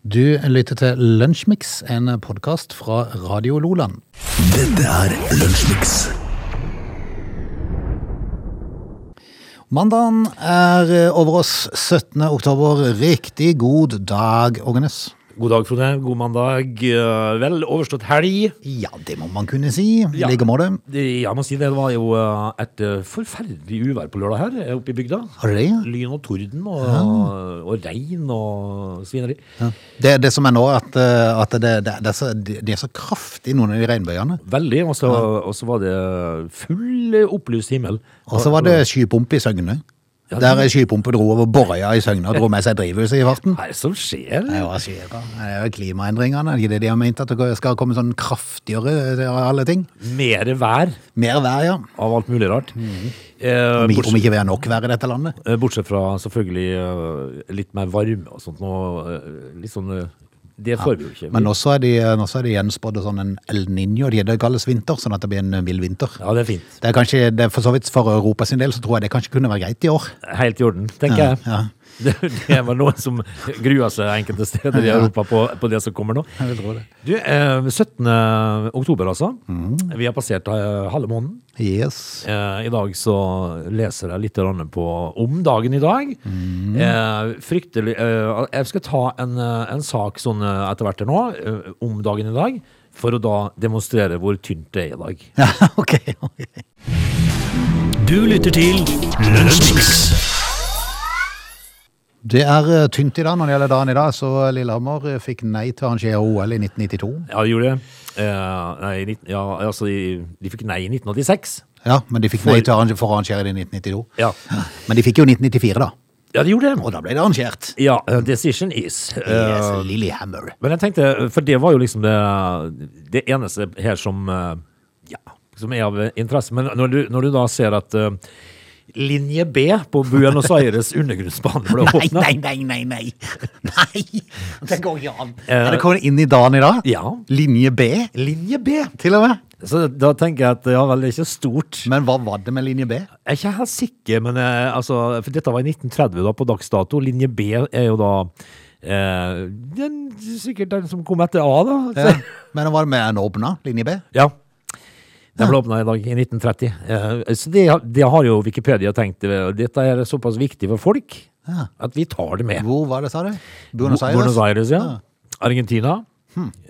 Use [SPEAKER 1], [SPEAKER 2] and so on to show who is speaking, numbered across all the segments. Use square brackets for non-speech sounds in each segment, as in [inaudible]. [SPEAKER 1] Du lytter til Lunsjmix, en podkast fra Radio Loland.
[SPEAKER 2] Dette er Lunsjmix.
[SPEAKER 1] Mandagen er over oss 17. oktober. Riktig god dag, Ågenes.
[SPEAKER 3] God dag, Frode. God mandag. Eh, Vel overstått helg.
[SPEAKER 1] Ja, det må man kunne si. I
[SPEAKER 3] Ja.
[SPEAKER 1] like måte.
[SPEAKER 3] Det- Jeg må si det var jo eh, et eh, forferdelig uvær på lørdag her eh, oppe i bygda.
[SPEAKER 1] Har du det? ja?
[SPEAKER 3] Lyn og torden og, og regn og svineri.
[SPEAKER 1] Ja. Det, det som er nå, at, eh, at det, det, det, er så, det det er så kraftig, noen av de regnbøyene.
[SPEAKER 3] Veldig. Og så og så var det full eh, opplyst himmel.
[SPEAKER 1] Og så var det skypumpe i Søgne.
[SPEAKER 3] Ja,
[SPEAKER 1] Der ei skypumpe dro over Borøya i Søgne og dro med seg drivhuset i farten.
[SPEAKER 3] Hva er det som skjer?
[SPEAKER 1] Nei, hva skjer da? Det er jo klimaendringene. Er det ikke det de har ment? At det skal komme sånn kraftigere eh, alle ting?
[SPEAKER 3] Mere vær
[SPEAKER 1] Mer vær, ja.
[SPEAKER 3] av alt mulig rart.
[SPEAKER 1] Mm. Om,
[SPEAKER 3] Eh,
[SPEAKER 1] ikke- om
[SPEAKER 3] bortsett,
[SPEAKER 1] ikke vi er nok vær i dette landet.
[SPEAKER 3] eh, bortsett fra selvfølgelig eh, litt mer varme og sånt. Nå, eh, litt sånn eh, Det får vi jo ikke.
[SPEAKER 1] Men også er de, også er de gjenspådd sånn en El Niño. De det kalles vinter, sånn at det blir en vill vinter.
[SPEAKER 3] Ja, det er fint.
[SPEAKER 1] Det er kanskje, det er for så vidt for Europa sin del, så tror jeg det kanskje kunne være greit i år.
[SPEAKER 3] Helt i orden, tenker jeg.
[SPEAKER 1] ja.
[SPEAKER 3] [laughs] Det, det var noen som grua seg enkelte steder i Europa på, på det som kommer nå.
[SPEAKER 1] Jeg vil tro det.
[SPEAKER 3] Du, eh, 17. oktober altså.
[SPEAKER 1] Mm.
[SPEAKER 3] Vi har passert eh, halve måneden.
[SPEAKER 1] Yes. [laughs]
[SPEAKER 3] Eh, I dag så leser jeg litt grann på om dagen i dag.
[SPEAKER 1] Mm.
[SPEAKER 3] Eh, fryktelig eh, Jeg skal ta en, eh, en sak sånn eh, etter hvert her nå, eh, om dagen i dag, for å da demonstrere hvor tynt det er i dag.
[SPEAKER 1] Ja, ok. ok.
[SPEAKER 2] Du lytter til Lunsjmix.
[SPEAKER 1] Det er eh, tynt i dag når det gjelder dagen i dag, så Lillehammer eh, fikk nei til å arrangere OL i 1992.
[SPEAKER 3] Ja, de gjorde det. Eh, nei, i nitten- ja, altså, de, de fikk nei i 1986.
[SPEAKER 1] Ja, men de fikk
[SPEAKER 3] For-
[SPEAKER 1] nei til å arrangere, for å arrangere det i 1992.
[SPEAKER 3] Ja.
[SPEAKER 1] Men de fikk jo 1994 da,
[SPEAKER 3] Ja, de gjorde
[SPEAKER 1] [laughs] og
[SPEAKER 3] det.
[SPEAKER 1] da ble det arrangert. Eh,
[SPEAKER 3] Ja, uh, decision is. Uh,
[SPEAKER 1] Yes, Lillehammer.
[SPEAKER 3] men jeg tenkte, for det var jo liksom det, det eneste her som, uh, ja, som er av interesse. Men når du, når du da ser at uh, linje B på Buenos [laughs] Aires undergrunnsbane ble
[SPEAKER 1] Nei,
[SPEAKER 3] åpnet.
[SPEAKER 1] nei, nei, nei, nei. [laughs] Nei, det går ikke an.
[SPEAKER 3] Eh,
[SPEAKER 1] Er det kommet inn i dagen i dag?
[SPEAKER 3] Ja.
[SPEAKER 1] Linje B,
[SPEAKER 3] Linje B!
[SPEAKER 1] til og med.
[SPEAKER 3] Så da tenker jeg at ja vel, det er ikke stort.
[SPEAKER 1] Men hva var det med linje [laughs] B?
[SPEAKER 3] Jeg er ikke helt sikker, men eh, altså, for dette var i 1930 da, på dags dato. Linje B er jo da eh, den, sikkert den som kom etter A, da. Så,
[SPEAKER 1] Ja. Eh, Men hva var det med en åpna linje B?
[SPEAKER 3] Ja. Den ble åpna i dag, i 1930. Eh, Så det, det har jo Wikipedia tenkt. eh, Dette er såpass viktig for folk
[SPEAKER 1] Ja.
[SPEAKER 3] at vi tar det med.
[SPEAKER 1] Hvor var det, sa du? Buenos Aires? Hmm.
[SPEAKER 3] Buenos Aires, ja. Argentina.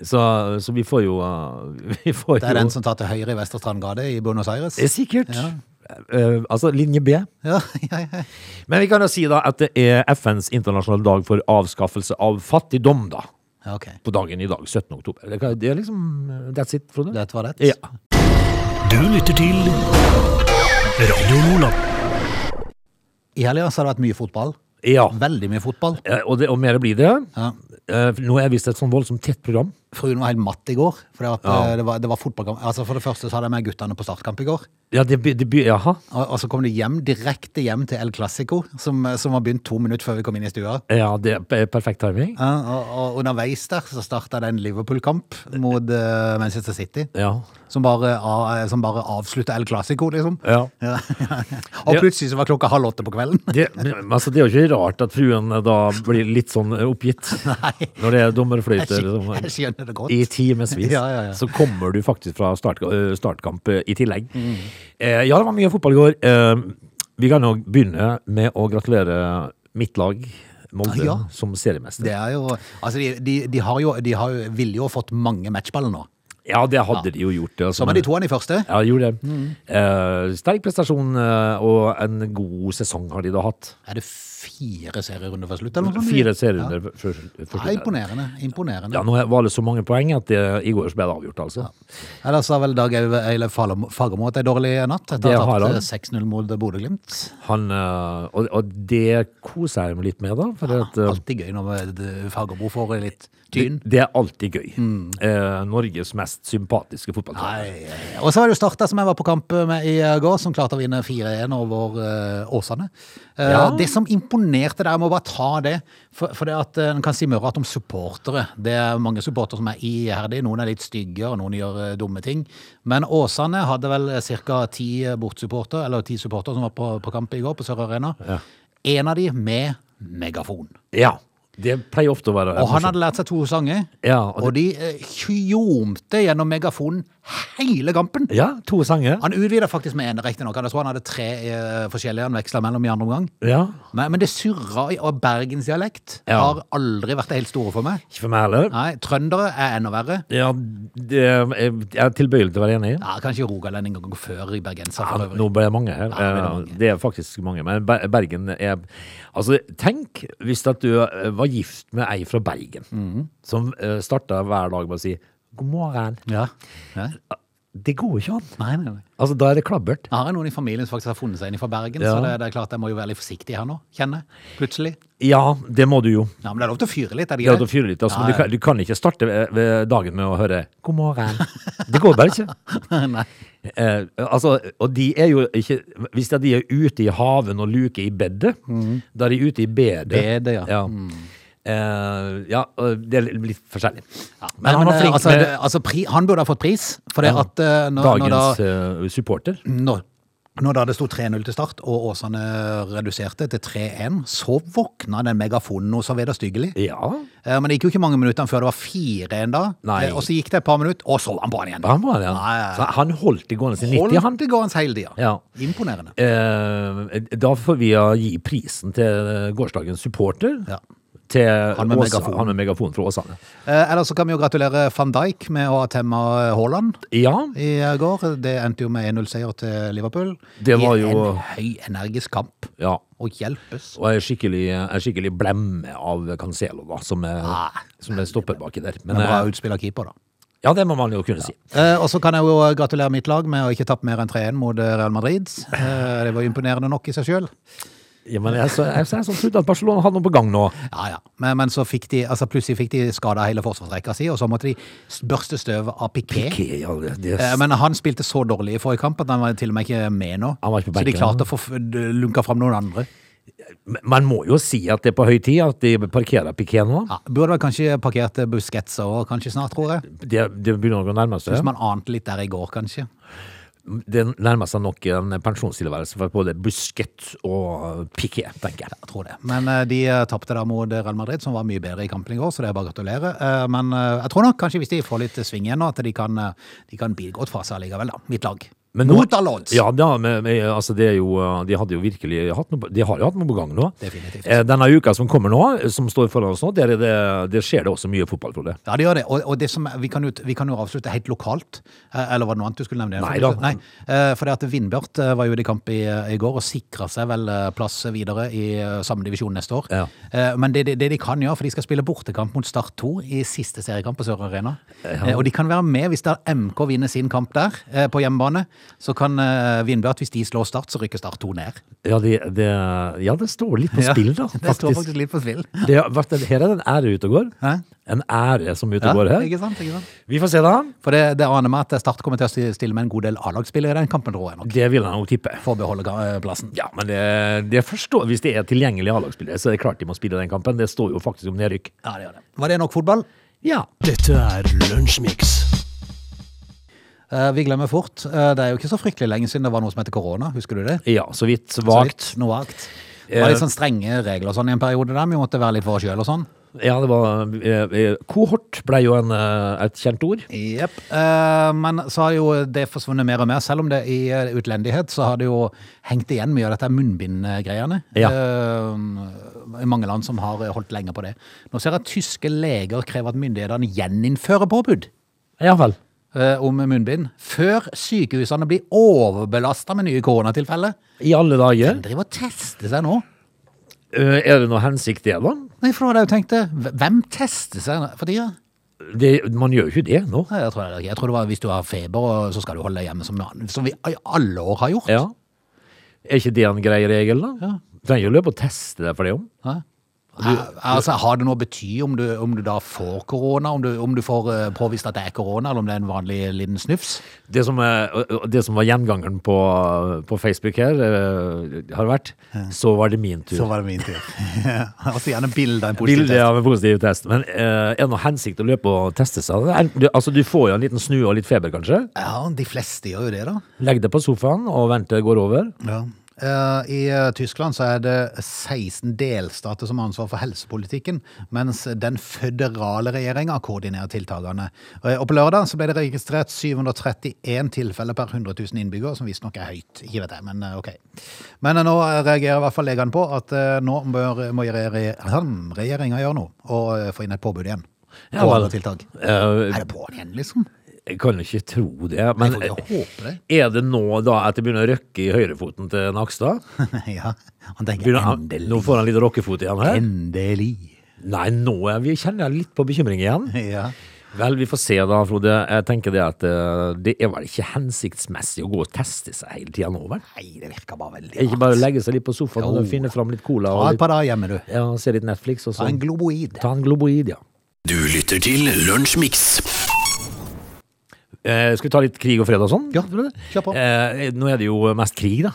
[SPEAKER 3] Så, så vi får jo eh, [laughs] Vi får
[SPEAKER 1] Det er
[SPEAKER 3] jo
[SPEAKER 1] den som tar til høyre i Vesterstrandgade i Buenos Aires?
[SPEAKER 3] Det er sikkert. Eh, altså linje B.
[SPEAKER 1] Ja, [laughs] ja, ja.
[SPEAKER 3] Men vi kan jo si da at det er FNs internasjonale dag for avskaffelse av fattigdom, da.
[SPEAKER 1] Ja, ok.
[SPEAKER 3] På dagen i dag, 17. oktober. Det kan- Det er liksom eh, That's it, Frode.
[SPEAKER 1] Dette var det.
[SPEAKER 3] Ja.
[SPEAKER 2] Du lytter til Radio Nordland.
[SPEAKER 1] I helga så har det vært mye fotball.
[SPEAKER 3] ja.
[SPEAKER 1] Veldig mye fotball.
[SPEAKER 3] Eh, Og, det, og mer blir det.
[SPEAKER 1] Ja.
[SPEAKER 3] Eh, for Nå er visst et sånn voldsomt tett program.
[SPEAKER 1] Fruen var helt matt i går, for at,
[SPEAKER 3] Ja.
[SPEAKER 1] eh, det var, det var fotballkamp. Altså, for det første så hadde jeg med guttene på startkamp i går.
[SPEAKER 3] Ja, det, by- det, by- jaha.
[SPEAKER 1] Og, og så kom de hjem, direkte hjem til El Clasico, som, som var begynt to minutter før vi kom inn i stua.
[SPEAKER 3] Ja, det er pe- perfekt timing.
[SPEAKER 1] Ja, og, og underveis der så starta det en Liverpool-kamp mot eh, Manchester City,
[SPEAKER 3] Ja.
[SPEAKER 1] som bare, a- som bare avslutta El Clasico, liksom.
[SPEAKER 3] ja. [laughs]
[SPEAKER 1] Ja. og plutselig så var klokka halv åtte på kvelden. [laughs]
[SPEAKER 3] Det, men, altså, det er jo ikke rart at fruen eh, da blir litt sånn oppgitt. [laughs]
[SPEAKER 1] Nei.
[SPEAKER 3] Når det er sånn.
[SPEAKER 1] Jeg
[SPEAKER 3] dommerfløyter
[SPEAKER 1] skjønner, jeg
[SPEAKER 3] som-
[SPEAKER 1] skjønner det godt.
[SPEAKER 3] i timevis,
[SPEAKER 1] [laughs] Ja, ja, ja.
[SPEAKER 3] så kommer du faktisk fra start, øh, startkamp øh, i tillegg.
[SPEAKER 1] Mm.
[SPEAKER 3] Eh, ja, det var mye fotball i går. Eh, vi kan jo begynne med å gratulere mitt lag, Molde,
[SPEAKER 1] Ah, Ja.
[SPEAKER 3] som seriemester.
[SPEAKER 1] Det er jo Altså, de, de, de har jo De har jo, ville jo fått mange matchballer nå.
[SPEAKER 3] Ja, det hadde de jo gjort. Altså,
[SPEAKER 1] Så var de to Mm. av de første.
[SPEAKER 3] Ja, de gjorde det. Eh, sterk prestasjon eh, og en god sesong har de da hatt.
[SPEAKER 1] Er det fire serierunder før slutt, eller noe sånt?
[SPEAKER 3] Fire serierunder før
[SPEAKER 1] Ja,
[SPEAKER 3] før slutt.
[SPEAKER 1] imponerende. imponerende.
[SPEAKER 3] Ja, nå var det så mange poeng at det, i går så ble det avgjort, altså.
[SPEAKER 1] Ellers har vel Dag Eive- Eilev Fagermo Fagermo hatt ei dårlig natt etter
[SPEAKER 3] Det
[SPEAKER 1] å ha
[SPEAKER 3] har han.
[SPEAKER 1] tapt 6-0 mot Bodø-Glimt.
[SPEAKER 3] Han, eh, og, og det koser jeg meg litt med, da. For at, eh,
[SPEAKER 1] Alltid gøy når eh, Fagermo får litt tyn. Mm.
[SPEAKER 3] det, det er alltid gøy. Eh, Norges mest sympatiske fotballtrener.
[SPEAKER 1] Nei, eh, Og så var det jo Starta, som jeg var på kamp med i eh, går, som klarte å vinne 4-1 over eh, Åsane. Eh,
[SPEAKER 3] Ja.
[SPEAKER 1] Det som imponerte der, jeg må bare ta det For, for det at eh, en kan si mye rart om supportere. Det er mange supportere som er iherdige. Noen er litt stygge, og noen gjør eh, dumme ting. Men Åsane hadde vel ca. ti eh, bortsupportere, eller ti supportere som var på, på kamp i går, på Sør Arena. En av de med megafon.
[SPEAKER 3] Ja. Det pleier ofte å være
[SPEAKER 1] Ah, Og han hadde lært seg to sanger,
[SPEAKER 3] ja, og
[SPEAKER 1] og
[SPEAKER 3] det,
[SPEAKER 1] de eh, tjomte gjennom megafonen hele kampen.
[SPEAKER 3] ja, to sanger.
[SPEAKER 1] Han utvida faktisk med en, riktignok. Jeg tror han hadde tre eh, forskjellige han veksla mellom i andre omgang.
[SPEAKER 3] Ja.
[SPEAKER 1] Men, men det surra i og bergensdialekt
[SPEAKER 3] Ja.
[SPEAKER 1] har aldri vært det helt store for meg.
[SPEAKER 3] Ikke for meg heller.
[SPEAKER 1] Nei, Trøndere er enda verre.
[SPEAKER 3] Ja, det, jeg jeg er tilbøyelig til å være enig i.
[SPEAKER 1] Ja, kanskje rogalendinger går før bergenser.
[SPEAKER 3] Ja,
[SPEAKER 1] Ah, For øvrig.
[SPEAKER 3] nå ble det mange
[SPEAKER 1] Ja,
[SPEAKER 3] her.
[SPEAKER 1] det ble
[SPEAKER 3] Eh,
[SPEAKER 1] mange.
[SPEAKER 3] det er faktisk mange. Men Ber- Bergen er Altså, tenk hvis at du eh, var gift med ei fra Bergen,
[SPEAKER 1] Mm.
[SPEAKER 3] som starta hver dag med å si 'god morgen'.
[SPEAKER 1] Ja. Ja.
[SPEAKER 3] Det går jo ikke an.
[SPEAKER 1] Nei, nei, nei.
[SPEAKER 3] Altså, da er det klabbert.
[SPEAKER 1] Jeg har noen i familien som faktisk har funnet seg inn fra Bergen,
[SPEAKER 3] Ja.
[SPEAKER 1] så det, det er klart jeg må jo være litt forsiktig her nå, kjenner jeg. Plutselig.
[SPEAKER 3] Ja, det må du jo.
[SPEAKER 1] Ja, men det er lov til å fyre litt, er det
[SPEAKER 3] Det er
[SPEAKER 1] ikke
[SPEAKER 3] lov til å
[SPEAKER 1] det?
[SPEAKER 3] fyre litt, altså,
[SPEAKER 1] Ja,
[SPEAKER 3] men du
[SPEAKER 1] ja.
[SPEAKER 3] kan, du kan ikke starte ved, ved dagen med å høre
[SPEAKER 1] [laughs]
[SPEAKER 3] 'god morgen'. Det går bare ikke.
[SPEAKER 1] Nei.
[SPEAKER 3] Eh, altså, og de er jo ikke Hvis de er ute i haven og luker i bedet, da er de ute i bedet.
[SPEAKER 1] Mm. Bedet, ja. Mm.
[SPEAKER 3] Ja. Eh, ja, og det er litt forskjellig.
[SPEAKER 1] Men,
[SPEAKER 3] han var
[SPEAKER 1] eh,
[SPEAKER 3] flink
[SPEAKER 1] altså,
[SPEAKER 3] med
[SPEAKER 1] det, altså, pri, han burde ha fått pris, for det
[SPEAKER 3] Ja.
[SPEAKER 1] at eh, når, når da
[SPEAKER 3] dagens eh, supporter.
[SPEAKER 1] når, når da det sto 3-0 til start, og Åsane reduserte til 3-1, så våkna den megafonen hos Aveda Styggelig.
[SPEAKER 3] Ja.
[SPEAKER 1] Eh, Men det gikk jo ikke mange minuttene før det var 4-1 da.
[SPEAKER 3] Nei.
[SPEAKER 1] Eh, Og så gikk det et par minutter, og så var han på han igjen.
[SPEAKER 3] Han var det. han.
[SPEAKER 1] Nei, nei,
[SPEAKER 3] Så han holdt det gående til 90, han.
[SPEAKER 1] Holdt det gående hele tida.
[SPEAKER 3] Ja.
[SPEAKER 1] Imponerende.
[SPEAKER 3] Eh, da får vi ja gi prisen til eh, gårsdagens supporter.
[SPEAKER 1] Ja.
[SPEAKER 3] Til
[SPEAKER 1] Han med
[SPEAKER 3] Åsa-
[SPEAKER 1] megafon.
[SPEAKER 3] han med megafon fra Åsane.
[SPEAKER 1] Eh, Ellers så kan vi jo gratulere van Dijk med å ha temma Haaland
[SPEAKER 3] Ja.
[SPEAKER 1] i går. Det endte jo med 1-0-seier til Liverpool.
[SPEAKER 3] Det var
[SPEAKER 1] I
[SPEAKER 3] jo-
[SPEAKER 1] en høyenergisk kamp.
[SPEAKER 3] ja.
[SPEAKER 1] Og hjelpes.
[SPEAKER 3] Og en skikkelig, en skikkelig blemme av Cancelo, da, som er, som er stopper baki der. Men,
[SPEAKER 1] Ah. Men bra
[SPEAKER 3] eh,
[SPEAKER 1] utspill av keeper, da.
[SPEAKER 3] ja, det må man jo kunne si.
[SPEAKER 1] Eh, og så kan jeg jo gratulere mitt lag med å ikke tappe mer enn 3-1 mot eh, Real Madrid. Eh, det var imponerende nok i seg sjøl.
[SPEAKER 3] Ja, men jeg, så, jeg, så, jeg så trodde at Barcelona hadde noe på gang nå.
[SPEAKER 1] Ja, ja. Men, men så fikk de, altså plutselig fikk de skada hele forsvarsrekka si, og så måtte de s- børste støv av Piqué.
[SPEAKER 3] Ok, ja, det, det,
[SPEAKER 1] Eh, Men han spilte så dårlig i forrige kamp at han var til og med ikke med nå.
[SPEAKER 3] Han var ikke
[SPEAKER 1] så
[SPEAKER 3] på
[SPEAKER 1] de
[SPEAKER 3] benken,
[SPEAKER 1] klarte å få f- d- lunka fram noen andre.
[SPEAKER 3] man må jo si at det er på høy tid at de parkerer Piqué nå.
[SPEAKER 1] Ja, burde vel kanskje parkert eh, Busquets òg, kanskje snart, tror jeg.
[SPEAKER 3] Det, det begynner å nærme seg.
[SPEAKER 1] Hvis man ante litt der i går, kanskje.
[SPEAKER 3] Det nærmer seg nok en pensjonstilværelse for både Busquets og Piqué, tenker jeg.
[SPEAKER 1] Jeg tror det. Men eh, de eh, tapte da mot Real Madrid, som var mye bedre i kampen i går, så det er bare å gratulere. Eh, Men eh, jeg tror nok kanskje hvis de får litt eh, sving igjen nå, at de kan, eh, de kan bide godt fra seg allikevel, da. Mitt lag.
[SPEAKER 3] Men nå-
[SPEAKER 1] Mot all odds!
[SPEAKER 3] Ja, da, men, men, altså det er jo, eh, de hadde jo virkelig hatt noe, på- de har jo hatt noe på gang nå.
[SPEAKER 1] Definitivt.
[SPEAKER 3] Eh, Denne uka som kommer nå, eh, som står foran oss nå, der, er det, der skjer det også mye fotball, Frode.
[SPEAKER 1] Ja, det gjør det. Og, og det som, vi, kan jo, vi kan jo avslutte helt lokalt. Eh, Eller var det noe annet du skulle nevne?
[SPEAKER 3] Nei da.
[SPEAKER 1] Nei, eh, for det at Vindbjart eh, var jo ute i kamp i, i går og sikra seg vel eh, plass videre i eh, samme divisjon neste år.
[SPEAKER 3] Ja.
[SPEAKER 1] Eh, Men det, det, det de kan gjøre, for de skal spille bortekamp mot Start 2 i siste seriekamp på Sør Arena. Eh, Og de kan være med hvis da MK vinner sin kamp der, eh, på hjemmebane. Så kan eh, Vindbjart, hvis de slår Start, så rykker Start 2 ned.
[SPEAKER 3] Ja, det, det, ja, det står litt på spill, da.
[SPEAKER 1] [laughs] Det står
[SPEAKER 3] Faktisk.
[SPEAKER 1] faktisk litt på spill.
[SPEAKER 3] Det, har vært en- her er det en ære ute og går.
[SPEAKER 1] Hæ?
[SPEAKER 3] En ære som er ute og går her.
[SPEAKER 1] ikke sant, ikke sant?
[SPEAKER 3] Vi får se, da.
[SPEAKER 1] For det, det aner meg at Start kommer til å stille med en god del A-lagsspillere i den kampen, tror jeg nok.
[SPEAKER 3] Det vil jeg nok tippe.
[SPEAKER 1] For å beholde ga- eh, plassen.
[SPEAKER 3] Ja, men det, det forstår Hvis det er tilgjengelige A-lagsspillere, så er det klart de må spille den kampen. Det står jo faktisk om nedrykk.
[SPEAKER 1] Ja, det gjør det. Var det nok fotball?
[SPEAKER 3] Ja.
[SPEAKER 2] Dette er Lunsjmix.
[SPEAKER 1] Eh, Vi glemmer fort. Eh, Det er jo ikke så fryktelig lenge siden det var noe som heter korona. Husker du det?
[SPEAKER 3] Ja, så vidt. Vagt.
[SPEAKER 1] Så vidt, Noe vagt. Det var litt sånn strenge regler og sånn i en periode der. Vi måtte være litt for oss sjøl og sånn.
[SPEAKER 3] Ja, det var eh, eh, Kohort ble jo en, eh, et kjent ord.
[SPEAKER 1] Jepp. Eh, Men så har jo det forsvunnet mer og mer. Selv om det i eh, utlendighet så har det jo hengt igjen mye av dette munnbindgreiene.
[SPEAKER 3] Ja.
[SPEAKER 1] Eh, I mange land som har holdt lenge på det. Nå ser jeg at tyske leger krever at myndighetene gjeninnfører påbud.
[SPEAKER 3] Ja vel.
[SPEAKER 1] eh, om munnbind før sykehusene blir overbelasta med nye koronatilfeller.
[SPEAKER 3] I alle dager.
[SPEAKER 1] De driver og tester seg nå.
[SPEAKER 3] Eh, er det noe hensikt det, da?
[SPEAKER 1] Nei, for det var det jeg tenkte. Hv- Hvem tester seg for tida?
[SPEAKER 3] Det, man gjør jo ikke det nå.
[SPEAKER 1] Nei, Jeg tror, det- jeg tror det var hvis du har feber, og så skal du holde deg hjemme, som, som vi i alle år har gjort.
[SPEAKER 3] Ja. Er ikke det en grei regel, da?
[SPEAKER 1] Ja.
[SPEAKER 3] Trenger ikke å løpe og teste deg for det om.
[SPEAKER 1] Hæ? Eh, altså, har det noe å bety om du, om du da får korona, om du, om du får eh, påvist at det er korona, eller om det er en vanlig liten snufs?
[SPEAKER 3] Det som, er, og- og det som var gjengangeren på, på Facebook her, eh, har vært Så var det min tur.
[SPEAKER 1] var det min [laughs] tur. altså gjerne bilde av en
[SPEAKER 3] Bilde av en positiv test. Men eh, er det noe hensikt å løpe og teste seg? Det er- det- Altså, du får jo en liten snue og litt feber, kanskje.
[SPEAKER 1] Ja, de fleste gjør jo det, da.
[SPEAKER 3] Legg deg på sofaen og vent til det går over.
[SPEAKER 1] Ja. Eh, I eh, Tyskland så er det 16 delstater som har ansvar for helsepolitikken, mens den føderale regjeringa koordinerer tiltakene. Eh, Og på lørdag så ble det registrert 731 tilfeller per 100 000 innbyggere, som visstnok er høyt. Ikke vet jeg, men eh, ok. Men eh, nå reagerer i hvert fall legene på at eh, nå bør, må regjeringa gjøre noe og eh, få inn et påbud igjen.
[SPEAKER 3] Ja,
[SPEAKER 1] og
[SPEAKER 3] vel.
[SPEAKER 1] andre tiltak.
[SPEAKER 3] Eh,
[SPEAKER 1] Er det på'n igjen, liksom? [laughs]
[SPEAKER 3] jeg kan jo ikke tro det, men
[SPEAKER 1] Jeg håper det.
[SPEAKER 3] er det nå da at det begynner å røkke i høyrefoten til Nakstad?
[SPEAKER 1] ja. Han tenker
[SPEAKER 3] Begynner han,
[SPEAKER 1] endelig.
[SPEAKER 3] nå får han litt rockefot igjen her.
[SPEAKER 1] Endelig. [laughs]
[SPEAKER 3] Nei, nå er vi kjenner jeg litt på bekymring igjen.
[SPEAKER 1] Ja.
[SPEAKER 3] Vel, vi får se da, Frode. Jeg tenker det at eh, det er vel ikke hensiktsmessig å gå og teste seg hele tida nå, vel?
[SPEAKER 1] Nei, det virker bare veldig
[SPEAKER 3] Ikke bare legge seg litt på sofaen og
[SPEAKER 1] Jo.
[SPEAKER 3] finne fram litt cola
[SPEAKER 1] Ha
[SPEAKER 3] og
[SPEAKER 1] et
[SPEAKER 3] litt,
[SPEAKER 1] par dager hjemme, du.
[SPEAKER 3] ja, se litt Netflix og
[SPEAKER 1] Ta en
[SPEAKER 3] sånn.
[SPEAKER 1] globoid.
[SPEAKER 3] Ta en globoid, ja.
[SPEAKER 2] Du lytter til Lunsjmix.
[SPEAKER 3] Eh, skal vi ta litt krig og fred og sånn?
[SPEAKER 1] Ja,
[SPEAKER 3] Frode?
[SPEAKER 1] kjør på.
[SPEAKER 3] Eh, nå er det jo mest krig, da.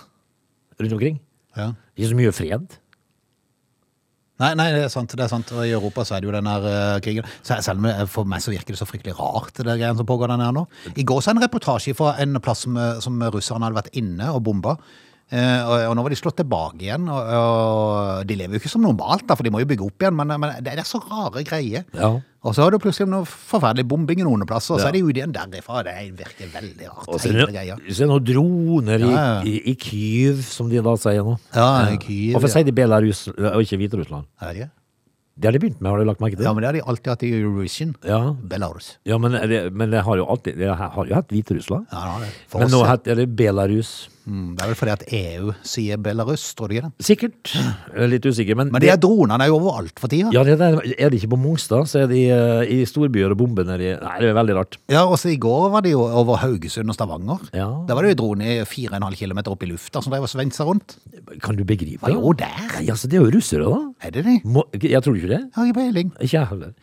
[SPEAKER 3] Rundt omkring.
[SPEAKER 1] Ja.
[SPEAKER 3] Ikke så mye fred.
[SPEAKER 1] Nei, nei, det er sant. det er sant. Og I Europa så er det jo den her eh, krigen. Se- Selv om det- for meg så virker det så fryktelig rart, det greiene som pågår den her nå. I går så en reportasje fra en plass som, eh, som russerne hadde vært inne og bomba. Eh, og, og nå var de slått tilbake igjen. Og, og de lever jo ikke som normalt, da, for de må jo bygge opp igjen. Men, men det, det er så rare greier.
[SPEAKER 3] Ja.
[SPEAKER 1] Og så har du plutselig noe forferdelig bombing i noen plasser, og så
[SPEAKER 3] Ja.
[SPEAKER 1] er de ute igjen derifra. Det virker veldig rart.
[SPEAKER 3] Og så
[SPEAKER 1] hele
[SPEAKER 3] er det,
[SPEAKER 1] greia.
[SPEAKER 3] så er det noen droner i,
[SPEAKER 1] Ja, ja.
[SPEAKER 3] i, i Kyiv, som de da sier nå.
[SPEAKER 1] Ja, i Kyiv,
[SPEAKER 3] Hvorfor
[SPEAKER 1] ja.
[SPEAKER 3] sier de Belarus og ikke Hviterussland?
[SPEAKER 1] Er det?
[SPEAKER 3] Det har de begynt med, har du lagt merke til?
[SPEAKER 1] Ja, men det har de alltid hatt i Eurovision.
[SPEAKER 3] Ja,
[SPEAKER 1] Belarus.
[SPEAKER 3] ja men, det, men det har jo alltid Det har jo hatt Hviterussland.
[SPEAKER 1] Ja, det har det. For
[SPEAKER 3] Men
[SPEAKER 1] oss
[SPEAKER 3] nå
[SPEAKER 1] er-
[SPEAKER 3] het- er det Belarus.
[SPEAKER 1] Mm, Det er vel fordi at EU sier Belarus, tror du ikke det?
[SPEAKER 3] Sikkert. Jeg er Litt usikker, men,
[SPEAKER 1] Men de her dronene er jo overalt for tida. Ja.
[SPEAKER 3] ja, det der, Er de ikke på Mongstad, så er de eh, i storbyer og bomber nedi Nei, det er veldig rart.
[SPEAKER 1] også I går var de jo over Haugesund og Stavanger.
[SPEAKER 3] Ja.
[SPEAKER 1] Der var det jo drone 4,5 km opp i lufta som drev og svingte seg rundt.
[SPEAKER 3] Kan du begripe
[SPEAKER 1] Var jo
[SPEAKER 3] det?
[SPEAKER 1] der!
[SPEAKER 3] Nei, altså, det er jo russere, da.
[SPEAKER 1] Er det de?
[SPEAKER 3] Må, jeg tror ikke det.
[SPEAKER 1] Jeg har ikke peiling.
[SPEAKER 3] Ikke jeg heller.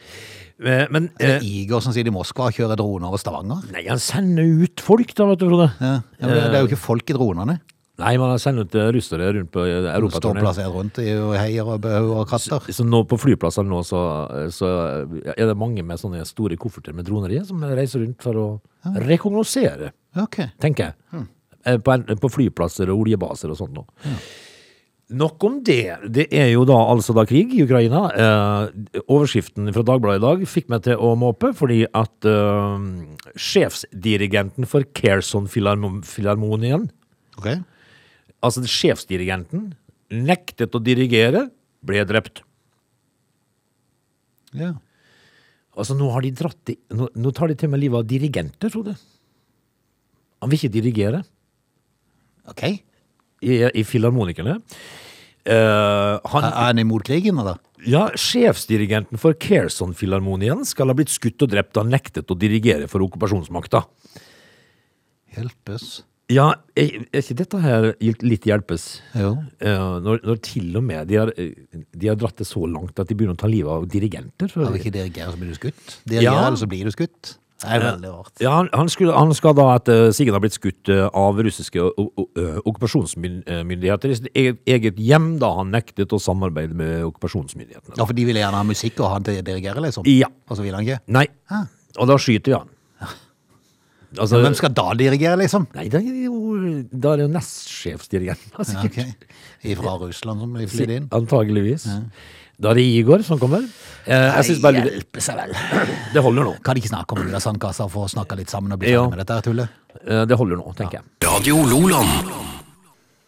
[SPEAKER 3] Eh, Men
[SPEAKER 1] Er
[SPEAKER 3] eh,
[SPEAKER 1] det Igor som sitter i Moskva og kjører droner over Stavanger?
[SPEAKER 3] Nei, han sender ut folk, da, vet du, Frode.
[SPEAKER 1] Ja. Ja, men det det er jo ikke folk i dronene.
[SPEAKER 3] Nei, men han sender ut eh, russere rundt på eh,
[SPEAKER 1] Står
[SPEAKER 3] europaturné.
[SPEAKER 1] plassert rundt i og heier og bø og katter.
[SPEAKER 3] Så nå på flyplassene nå, så, så er det mange med sånne store kofferter med droner i, som reiser rundt for å rekognosere,
[SPEAKER 1] Ok.
[SPEAKER 3] tenker jeg. Eh, På, en, på flyplasser og oljebaser og sånt nå. Nok om det. Det er jo da altså da krig i Ukraina. Eh, overskriften fra Dagbladet i dag fikk meg til å måpe, fordi at eh, sjefsdirigenten for Kherson-filharmonien
[SPEAKER 1] Ok.
[SPEAKER 3] altså sjefsdirigenten, nektet å dirigere, ble drept.
[SPEAKER 1] Ja.
[SPEAKER 3] Altså, nå, har de dratt i, nå, nå tar de til med livet av dirigenter, tror du. Han vil ikke dirigere
[SPEAKER 1] Ok. Er
[SPEAKER 3] i, i Filharmonikerne. Eh, han,
[SPEAKER 1] er han imot krigen, eller?
[SPEAKER 3] ja, sjefsdirigenten for Kherson-filharmonien skal ha blitt skutt og drept da han nektet å dirigere for okkupasjonsmakta.
[SPEAKER 1] Hjelpes.
[SPEAKER 3] Ja, er, er ikke dette her litt hjelpes?
[SPEAKER 1] Jo.
[SPEAKER 3] Eh, når, når til og med de har, eh, de har dratt det så langt at de begynner å ta livet av dirigenter. så-
[SPEAKER 1] Kan du ikke dirigere, så blir du skutt? Dirigere,
[SPEAKER 3] Ja.
[SPEAKER 1] eller så blir du skutt? Det er veldig rart.
[SPEAKER 3] Ja, han, han, skulle, han skal da etter Siggen har blitt skutt eh, av russiske o- o- eh, okkupasjonsmyndigheter i sitt eget, eget hjem da han nektet å samarbeide med okkupasjonsmyndighetene.
[SPEAKER 1] Ja, for de ville gjerne ha musikk og han til å dirigere, liksom.
[SPEAKER 3] Ja.
[SPEAKER 1] Og så vil han ikke.
[SPEAKER 3] Nei,
[SPEAKER 1] Hæ?
[SPEAKER 3] og da skyter vi han. Altså,
[SPEAKER 1] Hvem skal da dirigere, liksom?
[SPEAKER 3] Nei, da er det jo, da er det jo nestsjefsdirigenten. Altså,
[SPEAKER 1] Ja, ok. Fra Russland som blir flydd inn.
[SPEAKER 3] Antageligvis. Da er det Igor som kommer. Eh, jeg synes bare det,
[SPEAKER 1] hjelpe seg vel.
[SPEAKER 3] det holder nå.
[SPEAKER 1] Kan de ikke snakke om Ulla Sandkassa og få snakka litt sammen og bli
[SPEAKER 3] Ja.
[SPEAKER 1] ferdig med dette her tullet?
[SPEAKER 3] Eh, det holder nå, tenker jeg.
[SPEAKER 2] Radio Loland.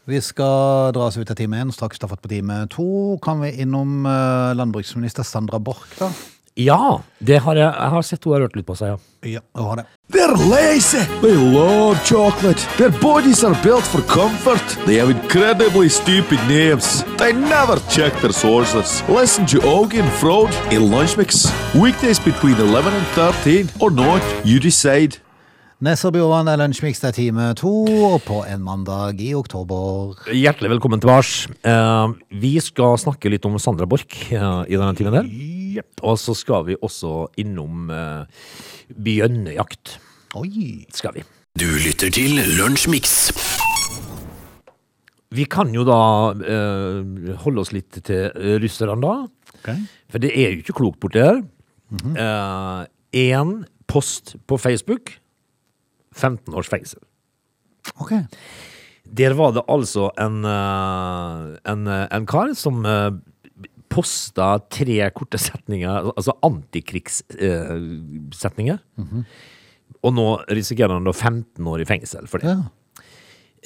[SPEAKER 1] Vi skal dra oss ut av time én, straks ta fatt på time to. Kan vi innom eh, landbruksminister Sandra Borch, da?
[SPEAKER 3] Ja, det har jeg, jeg har sett hun har rørt litt på seg, ja.
[SPEAKER 1] Ja, hun har det.
[SPEAKER 4] They're lazy. They love chocolate. Their bodies are built for comfort. They have incredibly stupid names. They never check their sources. Listen to Augie and Frode in Lunch Mix. Weekdays between 11 and 13 or not, you decide.
[SPEAKER 1] Nesser Bjorvann er lunsjmiks, det er time to og på en mandag i oktober.
[SPEAKER 3] Hjertelig velkommen til Vars. Eh, vi skal snakke litt om Sandra Borch eh, i denne timen her. Og så skal vi også innom eh, bjønnejakt.
[SPEAKER 1] Oi!
[SPEAKER 3] Skal vi.
[SPEAKER 2] Du lytter til Lunsjmix.
[SPEAKER 3] Vi kan jo da eh, holde oss litt til eh, russerne, da. For det er jo ikke klokt borti her. Eh, Én post på Facebook, 15 års fengsel.
[SPEAKER 1] Ok.
[SPEAKER 3] Der var det altså en, eh, en, eh, en kar som eh, posta tre korte setninger, al- altså antikrigssetninger.
[SPEAKER 1] Mhm.
[SPEAKER 3] Og nå risikerer han da 15 år i fengsel for det.
[SPEAKER 1] Ja.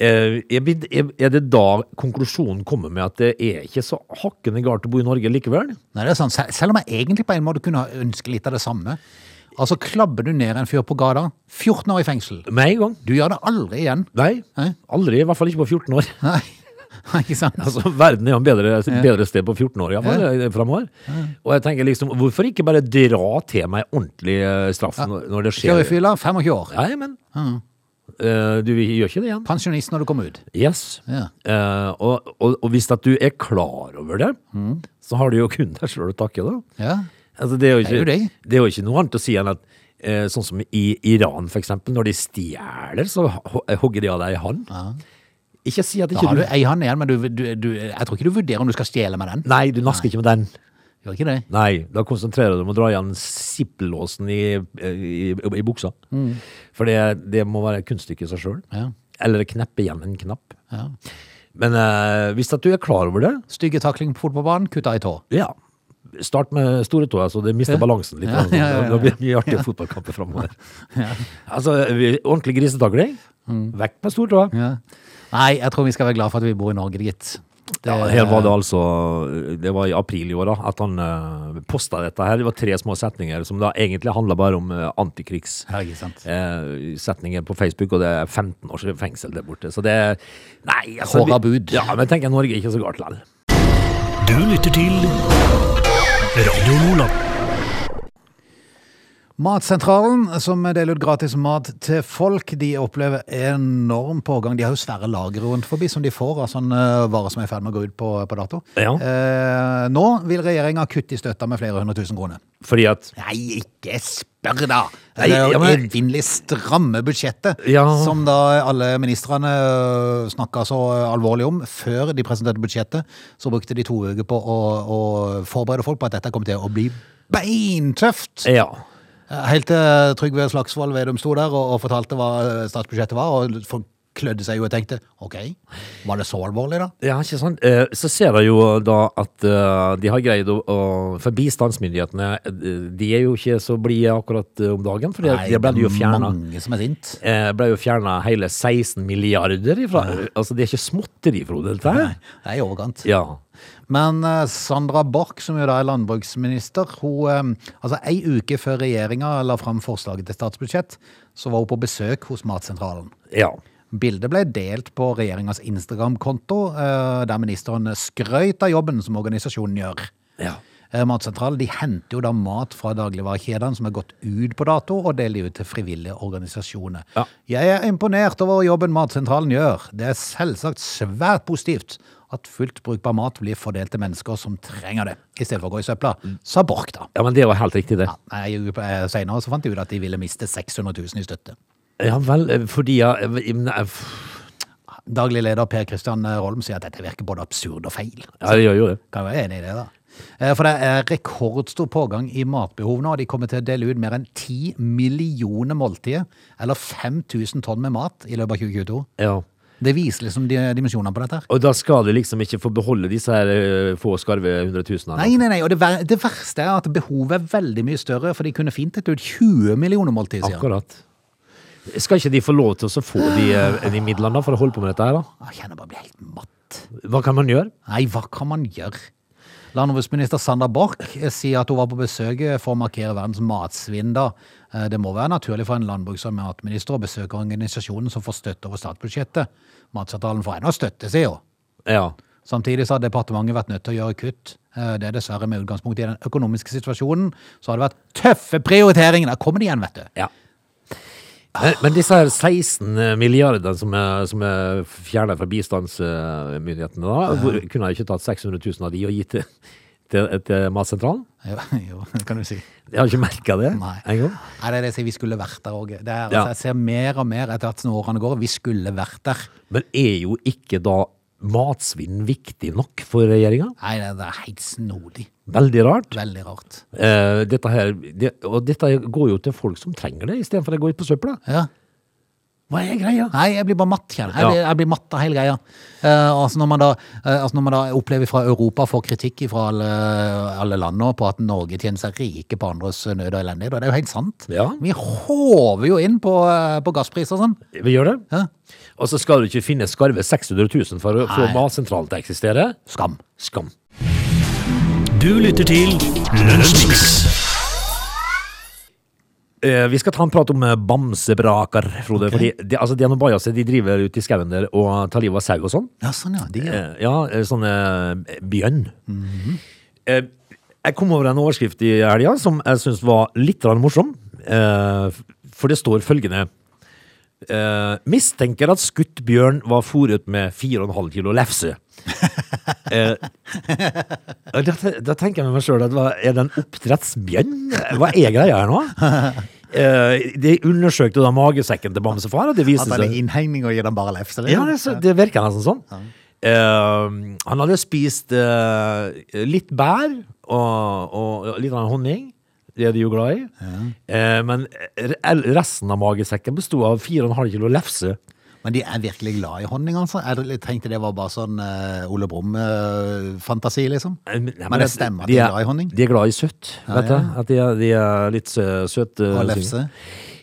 [SPEAKER 3] Eh, er bid- er- er det da konklusjonen kommer med at det er ikke så hakkende galt å bo i Norge likevel?
[SPEAKER 1] Nei, det er sant. Sel- Selv om jeg egentlig på en måte kunne ønske litt av det samme. Altså, klabber du ned en fyr på gata, 14 år i fengsel.
[SPEAKER 3] Med en gang.
[SPEAKER 1] Du gjør det aldri igjen.
[SPEAKER 3] Nei.
[SPEAKER 1] Nei.
[SPEAKER 3] Aldri. I hvert fall ikke på 14 år.
[SPEAKER 1] Nei, [laughs] ikke sant?
[SPEAKER 3] Altså, verden er jo en bedre, et bedre sted på 14 år i hvert fall, eh, fremover. Og jeg tenker liksom, hvorfor ikke bare dra til meg ordentlig eh, straff når, når det skjer?
[SPEAKER 1] Kjørefyla, 25 år.
[SPEAKER 3] Nei, men eh, du gjør ikke det igjen.
[SPEAKER 1] Pensjonist når du kommer ut.
[SPEAKER 3] Yes.
[SPEAKER 1] Ja.
[SPEAKER 3] Eh, og, og, og hvis at du er klar over det,
[SPEAKER 1] Mm.
[SPEAKER 3] så har du jo kun deg sjøl å takke, da.
[SPEAKER 1] Ja.
[SPEAKER 3] Altså, det, er jo
[SPEAKER 1] Det er
[SPEAKER 3] ikke,
[SPEAKER 1] jo det.
[SPEAKER 3] det er jo ikke noe annet å si enn at eh, sånn som i Iran, for eksempel, når de stjeler, så ho- hogger de av deg i hånd. Ikke si at
[SPEAKER 1] Da
[SPEAKER 3] ikke
[SPEAKER 1] har
[SPEAKER 3] du
[SPEAKER 1] du ei hand igjen, men du, du, du, jeg tror ikke du vurderer om du skal stjele med den.
[SPEAKER 3] Nei, du nasker ikke med den.
[SPEAKER 1] Gjør ikke det?
[SPEAKER 3] Nei, da konsentrerer du deg om å dra igjen zippelåsen i, i, i buksa. For det, det må være et kunststykke i seg sjøl.
[SPEAKER 1] Mm. Ja.
[SPEAKER 3] Eller kneppe igjen en knapp.
[SPEAKER 1] Ja.
[SPEAKER 3] Men eh, hvis at du er klar over det,
[SPEAKER 1] Stygge takling på fotballbanen, kutta i tå.
[SPEAKER 3] ja. Start med store tåa, så det mister balansen litt.
[SPEAKER 1] Ja,
[SPEAKER 3] grann, sånn.
[SPEAKER 1] ja, ja, ja.
[SPEAKER 3] Da blir det mye artige fotballkamper
[SPEAKER 1] [laughs]
[SPEAKER 3] framover. Altså, vi- ordentlig grisetakling. Vekk med stortåa.
[SPEAKER 1] Mm. Ja. Nei, jeg tror vi skal være glad for at vi bor i Norge, gitt. Det-
[SPEAKER 3] Ja, her var det altså Det var i april i år da at han uh, posta dette her. Det var tre små setninger som da egentlig handla bare om eh, antikrigs
[SPEAKER 1] Ja, ikke sant.
[SPEAKER 3] eh, setninger på Facebook, og det er 15 års fengsel der borte. Så det Nei, altså
[SPEAKER 1] Hårda
[SPEAKER 3] vi-
[SPEAKER 1] bud.
[SPEAKER 3] Ja, men tenk at Norge er ikke så galt likevel.
[SPEAKER 2] Du lytter til Radio Nordland.
[SPEAKER 1] Matsentralen, som deler ut gratis mat til folk, de opplever enorm pågang. De har jo svære lagre rundt forbi som de får av sånne eh, varer som er i ferd med å gå ut på, på dato.
[SPEAKER 3] Ja.
[SPEAKER 1] Eh, nå vil regjeringa kutte i støtta med flere hundre tusen kroner.
[SPEAKER 3] Fordi at
[SPEAKER 1] Nei, ikke spør, da!
[SPEAKER 3] Nei,
[SPEAKER 1] det er
[SPEAKER 3] ja,
[SPEAKER 1] jo
[SPEAKER 3] men-
[SPEAKER 1] evinnelig stramme budsjettet,
[SPEAKER 3] Ja.
[SPEAKER 1] som da alle ministrene øh, snakka så alvorlig om. Før de presenterte budsjettet, så brukte de to uker på å, å forberede folk på at dette kom til å bli beintøft!
[SPEAKER 3] Ja.
[SPEAKER 1] Helt til Trygve Slagsvold Vedum sto der og, og fortalte hva øh, statsbudsjettet var, og folk klødde seg jo og tenkte OK, var det så alvorlig, da?
[SPEAKER 3] Ja, ikke sant. Eh, Så ser jeg jo da at eh, de har greid å, å For bistandsmyndighetene, eh, de er jo ikke så blide akkurat eh, om dagen, for de, de ble jo fjerna.
[SPEAKER 1] mange som er sint.
[SPEAKER 3] eh, ble jo fjerna hele 16 milliarder ifra Altså, det er ikke småtteri, Frode, dette her.
[SPEAKER 1] Det er i overkant.
[SPEAKER 3] Ja.
[SPEAKER 1] Men eh, Sandra Borch, som jo da er landbruksminister, hun, eh, altså ei uke før regjeringa la fram forslaget til statsbudsjett, så var hun på besøk hos Matsentralen.
[SPEAKER 3] Ja.
[SPEAKER 1] Bildet ble delt på regjeringas Instagram-konto, eh, der ministeren skrøt av jobben som organisasjonen gjør.
[SPEAKER 3] ja.
[SPEAKER 1] Eh, Matsentralen de henter jo da mat fra dagligvarekjedene som er gått ut på dato, og deler ut til frivillige organisasjoner.
[SPEAKER 3] Ja.
[SPEAKER 1] Jeg er imponert over jobben Matsentralen gjør. Det er selvsagt svært positivt at fullt brukbar mat blir fordelt til mennesker som trenger det, i stedet for å gå i søpla, sa Borch da.
[SPEAKER 3] Ja, men det var helt riktig, det.
[SPEAKER 1] Ja, nei, jeg- eh, Senere så fant de ut at de ville miste 600 000 i støtte.
[SPEAKER 3] Ja vel, eh, fordi jeg, jeg, men jeg,
[SPEAKER 1] Daglig leder Per Kristian Rolm sier at dette virker både absurd og feil.
[SPEAKER 3] ja, jeg gjør jo det.
[SPEAKER 1] Kan være enig i det, da. Eh, For det er rekordstor pågang i matbehov nå. De kommer til å dele ut mer enn 10 millioner måltider, eller 5000 tonn med mat, i løpet av 2022.
[SPEAKER 3] Ja.
[SPEAKER 1] Det viser liksom de- dimensjonene på dette her.
[SPEAKER 3] Og da skal du liksom ikke få beholde disse her eh, få skarve hundretusenene?
[SPEAKER 1] Nei, nei, nei, og det, ver det verste er at behovet er veldig mye større, for de kunne fint delt ut 20 millioner måltider, sier han.
[SPEAKER 3] Akkurat. Skal ikke de få lov til å så få de, eh, de midlene da, for å holde på med dette her, da?
[SPEAKER 1] Ah, Jeg kjenner jeg bare blir helt matt.
[SPEAKER 3] Hva kan man gjøre?
[SPEAKER 1] Nei, hva kan man gjøre? Landbruksminister Sandra Borch eh, sier at hun var på besøk eh, for å markere verdens matsvinn. da. Eh, Det må være naturlig for en landbruks- og matminister å besøke organisasjonen som får støtte over statsbudsjettet. Matsavtalen får ennå støtte, sier hun.
[SPEAKER 3] Ja.
[SPEAKER 1] Samtidig så har departementet vært nødt til å gjøre kutt. Eh, Det er dessverre med utgangspunkt i den økonomiske situasjonen. Så har det vært tøffe prioriteringer. Der kommer de igjen, vet du. [laughs]
[SPEAKER 3] ja. Men, men disse her 16 milliardene som er, som er fjernet fra bistandsmyndighetene, da, hvor, kunne jeg ikke tatt 600 000 av de og gitt til, til, til Matsentralen?
[SPEAKER 1] Jo, jo, det kan du si.
[SPEAKER 3] Jeg har ikke merka det
[SPEAKER 1] Nei.
[SPEAKER 3] en gang.
[SPEAKER 1] Nei, det er det jeg sier. Vi skulle vært der òg.
[SPEAKER 3] Ja.
[SPEAKER 1] Altså, jeg ser mer og mer etter hvert som årene går. Vi skulle vært der.
[SPEAKER 3] Men er jo ikke da matsvinn viktig nok for regjeringa?
[SPEAKER 1] Nei, det det er helt snodig.
[SPEAKER 3] Veldig rart.
[SPEAKER 1] Veldig rart.
[SPEAKER 3] Eh, dette her, det, og dette går jo til folk som trenger det, istedenfor å gå ut på søpla.
[SPEAKER 1] Ja.
[SPEAKER 3] Hva er greia?
[SPEAKER 1] Nei, jeg blir bare matt, kjenner jeg. Jeg
[SPEAKER 3] Ja.
[SPEAKER 1] blir, jeg blir matt av hele greia. Eh, altså, når man da, eh, altså når man da opplever fra Europa får kritikk fra alle, alle land nå på at Norge tjener seg rike på andres nød og elendighet, og det er jo helt sant.
[SPEAKER 3] Ja.
[SPEAKER 1] Vi håver jo inn på, eh, på gasspriser og sånn.
[SPEAKER 3] Vi gjør det.
[SPEAKER 1] Ja.
[SPEAKER 3] Og så skal du ikke finne skarve 600 000 for å få
[SPEAKER 1] Nei.
[SPEAKER 3] matsentralen til å eksistere.
[SPEAKER 1] Skam.
[SPEAKER 3] Skam.
[SPEAKER 2] Du lytter til Lunsjmix.
[SPEAKER 3] Eh, vi skal ta en prat om eh, bamsebraker, Frode.
[SPEAKER 1] Ok.
[SPEAKER 3] Fordi det, altså, det er noen bajaser de driver ute i skauen der og tar livet av sau og sånn.
[SPEAKER 1] Ja, sånn ja. De, ja.
[SPEAKER 3] Eh, ja, eh, sånne eh, bjørn.
[SPEAKER 1] Mhm.
[SPEAKER 3] eh, jeg kom over en overskrift i helga som jeg syns var litt grann morsom. Eh, f- for det står følgende eh, Mistenker at skutt bjørn var fôret med 4,5 kilo
[SPEAKER 1] [laughs]
[SPEAKER 3] lefse. eh, da, te- da tenker jeg med meg sjøl at hva, er det en oppdrettsbjørn? Hva er greia her
[SPEAKER 1] [laughs]
[SPEAKER 3] nå? Eh, de undersøkte da magesekken til bamsefar, og det viste
[SPEAKER 1] At han
[SPEAKER 3] seg
[SPEAKER 1] er innhengning og gir dem bare lefse.
[SPEAKER 3] ja, det, så, det virker nesten sånn. Eh, han hadde spist eh, litt bær og, og litt grann honning. Det er de jo glad i. Eh, men re- resten av magesekken besto av 4,5 kilo lefse.
[SPEAKER 1] Men de er virkelig glad i honning, altså. Jeg tenkte det var bare sånn eh, Ole Brumm-fantasi, liksom.
[SPEAKER 3] Eh, men- nei,
[SPEAKER 1] Men det stemmer at de er glad i honning.
[SPEAKER 3] De er glad i søtt. vet du? At de er, de er litt sø- søte.
[SPEAKER 1] Og lefse.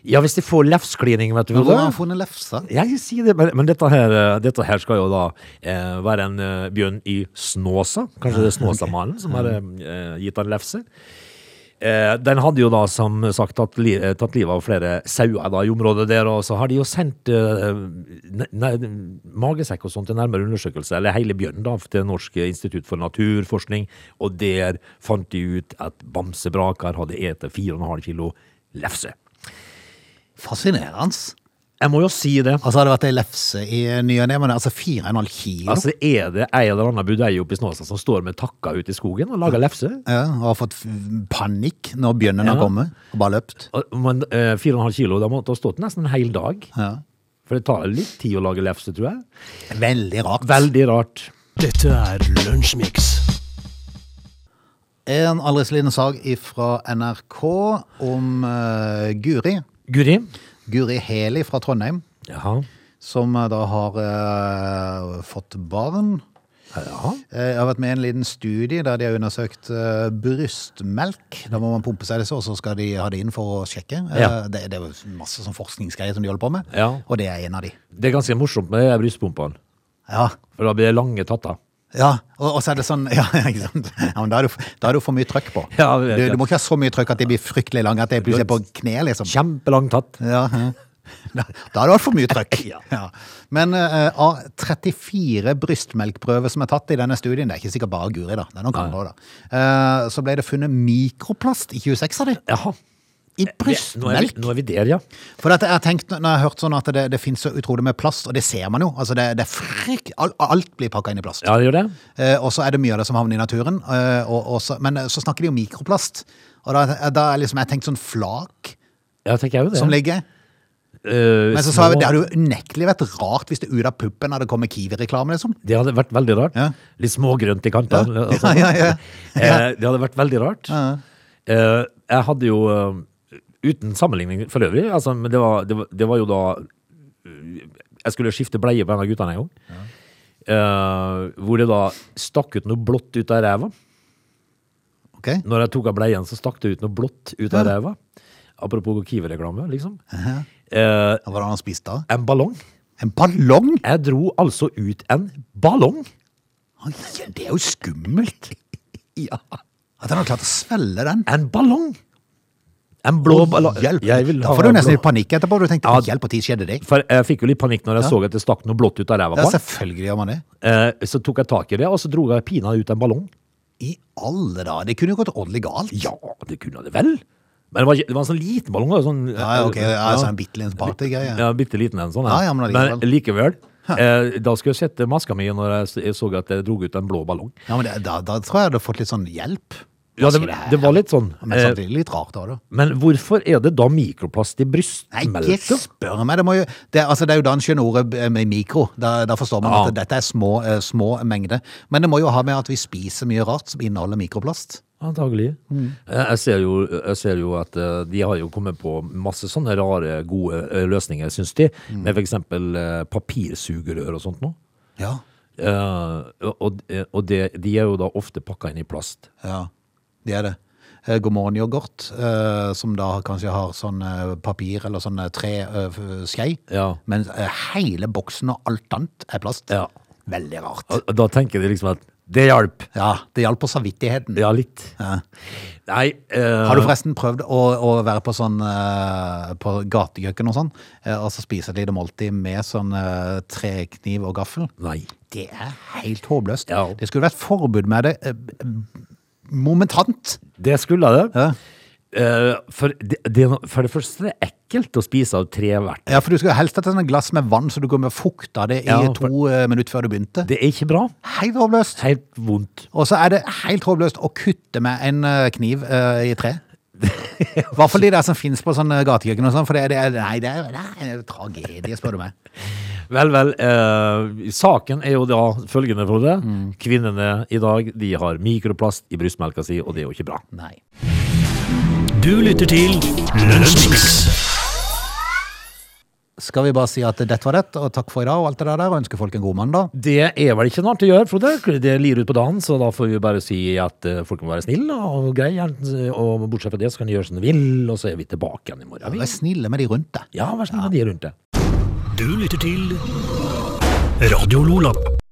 [SPEAKER 3] Ja, hvis de får lefsklining, vet du.
[SPEAKER 1] Men
[SPEAKER 3] Frode.
[SPEAKER 1] hvor har han funnet lefsa?
[SPEAKER 3] Jeg sier det, men, men dette, her, eh, dette her skal jo da eh, være en eh, bjørn i Snåsa. Kanskje det er Snåsamannen som har eh, gitt han lefse. Eh, den hadde jo da som sagt tatt, li, eh, tatt livet av flere sauer da, i området der, og så har de jo sendt eh, ne- ne- magesekk og sånt til nærmere undersøkelse, eller hele bjørnen da, til Norsk institutt for naturforskning, og der fant de ut at bamsebraker hadde etet 4,5 kilo lefse.
[SPEAKER 1] Fascinerende.
[SPEAKER 3] Jeg må jo si det.
[SPEAKER 1] Altså, hadde det vært ei lefse i ny og ne, men altså 4,5 kilo.
[SPEAKER 3] Altså, er det ei eller annen budeie oppe i Snåsa som står med takka ute i skogen og lager lefse?
[SPEAKER 1] ja, og har fått f- panikk når bjønnen har
[SPEAKER 3] Ja.
[SPEAKER 1] kommet, og bare løpt.
[SPEAKER 3] Og- Men eh, 4,5 kilo, da måtte ha stått nesten en hel dag.
[SPEAKER 1] Ja.
[SPEAKER 3] For det tar litt tid å lage lefse, tror jeg.
[SPEAKER 1] Veldig rart.
[SPEAKER 3] Veldig rart.
[SPEAKER 2] Dette er Lunsjmix.
[SPEAKER 1] En aldri så liten sak fra NRK om eh, Guri.
[SPEAKER 3] Guri?
[SPEAKER 1] Guri Heli fra Trondheim,
[SPEAKER 3] Jaha.
[SPEAKER 1] som eh, da har eh, fått barn.
[SPEAKER 3] Ja.
[SPEAKER 1] Eh, Jeg har vært med i en liten studie der de har undersøkt eh, brystmelk. Da må man pumpe seg disse, og så skal de ha det inn for å sjekke. Eh,
[SPEAKER 3] Ja.
[SPEAKER 1] Det, det er jo masse sånn forskningsgreier som de holder på med,
[SPEAKER 3] Ja.
[SPEAKER 1] og det er en av de.
[SPEAKER 3] Det er ganske morsomt med de her brystpumpene.
[SPEAKER 1] Ja,
[SPEAKER 3] For da blir det lange tatter.
[SPEAKER 1] ja. Og, og så er det sånn [laughs] Ja, ikke sant? Ja, men da er du, da er du for mye trøkk på.
[SPEAKER 3] Ja,
[SPEAKER 1] du,
[SPEAKER 3] jeg vet
[SPEAKER 1] du
[SPEAKER 3] det.
[SPEAKER 1] må ikke ha så mye trøkk at de blir fryktelig lange at det plutselig er på kne, liksom.
[SPEAKER 3] Kjempelang tatt.
[SPEAKER 1] Ja, ja. Da da har du hatt for mye trøkk.
[SPEAKER 3] [laughs] Ja.
[SPEAKER 1] Men eh, av 34 brystmelkprøver som er tatt i denne studien, det er ikke sikkert bare Guri, da, det er noen andre, da, eh, så ble det funnet mikroplast i 26 av dem.
[SPEAKER 3] Jaha.
[SPEAKER 1] I
[SPEAKER 3] Nå er, vi,
[SPEAKER 1] brystmelk!
[SPEAKER 3] nå er vi der, ja.
[SPEAKER 1] For at jeg har tenkt, når jeg har hørt sånn at det, det finnes så utrolig med plast, og det ser man jo. altså det, det er frykt, alt, alt blir pakka inn i plast.
[SPEAKER 3] Ja, det gjør det.
[SPEAKER 1] Eh, og så er det mye av det som havner i naturen. eh, og, og så, men eh, så snakker de om mikroplast. Og da, da er liksom, jeg har tenkt sånn flak
[SPEAKER 3] Ja, tenker jeg jo det.
[SPEAKER 1] som ligger
[SPEAKER 3] Eh,
[SPEAKER 1] Men så sa jeg,
[SPEAKER 3] små-
[SPEAKER 1] det hadde jo unektelig vært rart hvis det ut av puppen hadde kommet Kiwi-reklame, liksom.
[SPEAKER 3] Det hadde vært veldig rart.
[SPEAKER 1] Ja.
[SPEAKER 3] Litt smågrønt i kantene.
[SPEAKER 1] Ja,
[SPEAKER 3] altså.
[SPEAKER 1] [laughs] ja, ja, ja.
[SPEAKER 3] [laughs] Eh, Det hadde vært veldig rart. Eh, Jeg hadde jo, eh, uten sammenligning for øvrig, altså, men det var, det, var, det var jo da eh, Jeg skulle skifte bleie på en av guttene en gang. Eh, hvor det da stakk ut noe blått ut av ræva.
[SPEAKER 1] Ok?
[SPEAKER 3] Når jeg tok av bleien, så stakk det ut noe blått ut av ræva. Apropos Kiwi-reklame, liksom. Eh,
[SPEAKER 1] Hva var det han spiste da?
[SPEAKER 3] en ballong.
[SPEAKER 1] En ballong?
[SPEAKER 3] Jeg dro altså ut en ballong.
[SPEAKER 1] Oi, Det er jo skummelt.
[SPEAKER 3] [laughs] Ja.
[SPEAKER 1] At han har klart å svelge den.
[SPEAKER 3] En ballong! En blå ballong.
[SPEAKER 1] Hjelp.
[SPEAKER 3] Jeg vil
[SPEAKER 1] Da
[SPEAKER 3] ha
[SPEAKER 1] får du nesten
[SPEAKER 3] blå.
[SPEAKER 1] litt panikk etterpå. Du tenkte,
[SPEAKER 3] Ja.
[SPEAKER 1] hjelp, og tid skjedde det?
[SPEAKER 3] For jeg fikk jo litt panikk når jeg så at det stakk noe blått ut av ræva
[SPEAKER 1] Ja,
[SPEAKER 3] på han.
[SPEAKER 1] selvfølgelig gjør man det.
[SPEAKER 3] Eh, Så tok jeg tak i det, og så dro jeg pinadø ut en ballong.
[SPEAKER 1] I alle dager. Det kunne jo gått ordentlig galt.
[SPEAKER 3] Ja, det kunne det vel? Men det var, ikke- det var en sånn liten ballong. da, Sånn,
[SPEAKER 1] Ja, ok, altså
[SPEAKER 3] ja.
[SPEAKER 1] en bitte liten partygreie.
[SPEAKER 3] Ja, bitte liten en sånn.
[SPEAKER 1] Ja, ja, men allikevel.
[SPEAKER 3] likevel. Eh, da skulle jeg sette maska mi når jeg s- så at jeg dro ut en blå ballong.
[SPEAKER 1] Ja, men det, da, da tror jeg du hadde fått litt sånn hjelp.
[SPEAKER 3] Ja, det,
[SPEAKER 1] Hva skal
[SPEAKER 3] det var litt sånn.
[SPEAKER 1] Men
[SPEAKER 3] eh,
[SPEAKER 1] samtidig litt rart da, da.
[SPEAKER 3] Men hvorfor er det da mikroplast i
[SPEAKER 1] Nei, ikke
[SPEAKER 3] brystmelka?
[SPEAKER 1] spør meg. Det, må jo, det, altså, det er jo da en skjønner ordet eh, med mikro. Da, da forstår man
[SPEAKER 3] Ja.
[SPEAKER 1] at dette er små, eh, små mengder. Men det må jo ha med at vi spiser mye rart som inneholder mikroplast.
[SPEAKER 3] Antagelig. Eh, Jeg, ser jo, jeg ser jo at eh, de har jo kommet på masse sånne rare, gode eh, løsninger, syns de.
[SPEAKER 1] Mm.
[SPEAKER 3] Med f.eks. papirsugerør og sånt noe.
[SPEAKER 1] Ja.
[SPEAKER 3] Eh, og og det, de er jo da ofte pakka inn i plast.
[SPEAKER 1] ja. Det er det. Eh, God morgen-yoghurt, eh, som da kanskje har sånn eh, papir eller sånn eh, tre eh, f- skei,
[SPEAKER 3] Ja.
[SPEAKER 1] men eh, hele boksen og alt annet er plast.
[SPEAKER 3] Ja.
[SPEAKER 1] Veldig rart.
[SPEAKER 3] Og Da tenker de liksom at det hjalp.
[SPEAKER 1] Ja, det hjalp på samvittigheten.
[SPEAKER 3] Ja, litt.
[SPEAKER 1] Ja.
[SPEAKER 3] Nei eh,
[SPEAKER 1] Har du forresten prøvd å, å være på sånn eh, på gatekjøkken og sånn, eh, og så spise et lite måltid med sånn eh, trekniv og gaffel?
[SPEAKER 3] Nei.
[SPEAKER 1] Det er helt håpløst.
[SPEAKER 3] Ja.
[SPEAKER 1] Det skulle vært forbud med det eh, eh, momentant.
[SPEAKER 3] Det skulle jeg det.
[SPEAKER 1] Ja.
[SPEAKER 3] Eh, for, det, det er no- for det første er det ekkelt å spise av trevert.
[SPEAKER 1] Ja, for du skulle helst ha et sånt glass med vann, så du kunne fukta det i
[SPEAKER 3] Ja, for-
[SPEAKER 1] to eh, minutter før du begynte.
[SPEAKER 3] Det er ikke bra.
[SPEAKER 1] Helt håpløst.
[SPEAKER 3] Helt vondt.
[SPEAKER 1] Og så er det helt håpløst å kutte med en eh, kniv eh, i tre. I hvert fall de der som finnes på sånn eh, gatekjøkken og sånn, for det er, det er, nei, det er, det er en tragedie, spør du meg.
[SPEAKER 3] Vel, vel. Eh, saken er jo da følgende, Frode. Kvinnene i dag de har mikroplast i brystmelka si, og det er jo ikke bra.
[SPEAKER 1] Nei.
[SPEAKER 2] Du lytter til Lunsjmix.
[SPEAKER 1] Skal vi bare si at dette var det, og takk for i dag og alt det der, og ønsker folk en god mandag.
[SPEAKER 3] Det er vel ikke noe annet å gjøre, Frode. Det lir ut på dagen, så da får vi bare si at eh, folk må være snille og greie. Og bortsett fra det, så kan de gjøre som de vil, og så er vi tilbake igjen i morgen.
[SPEAKER 1] Vær
[SPEAKER 3] Vi-
[SPEAKER 1] snille med de rundt deg.
[SPEAKER 3] Ja, vær snill med de rundt deg.
[SPEAKER 2] Du lytter til Radio Lola.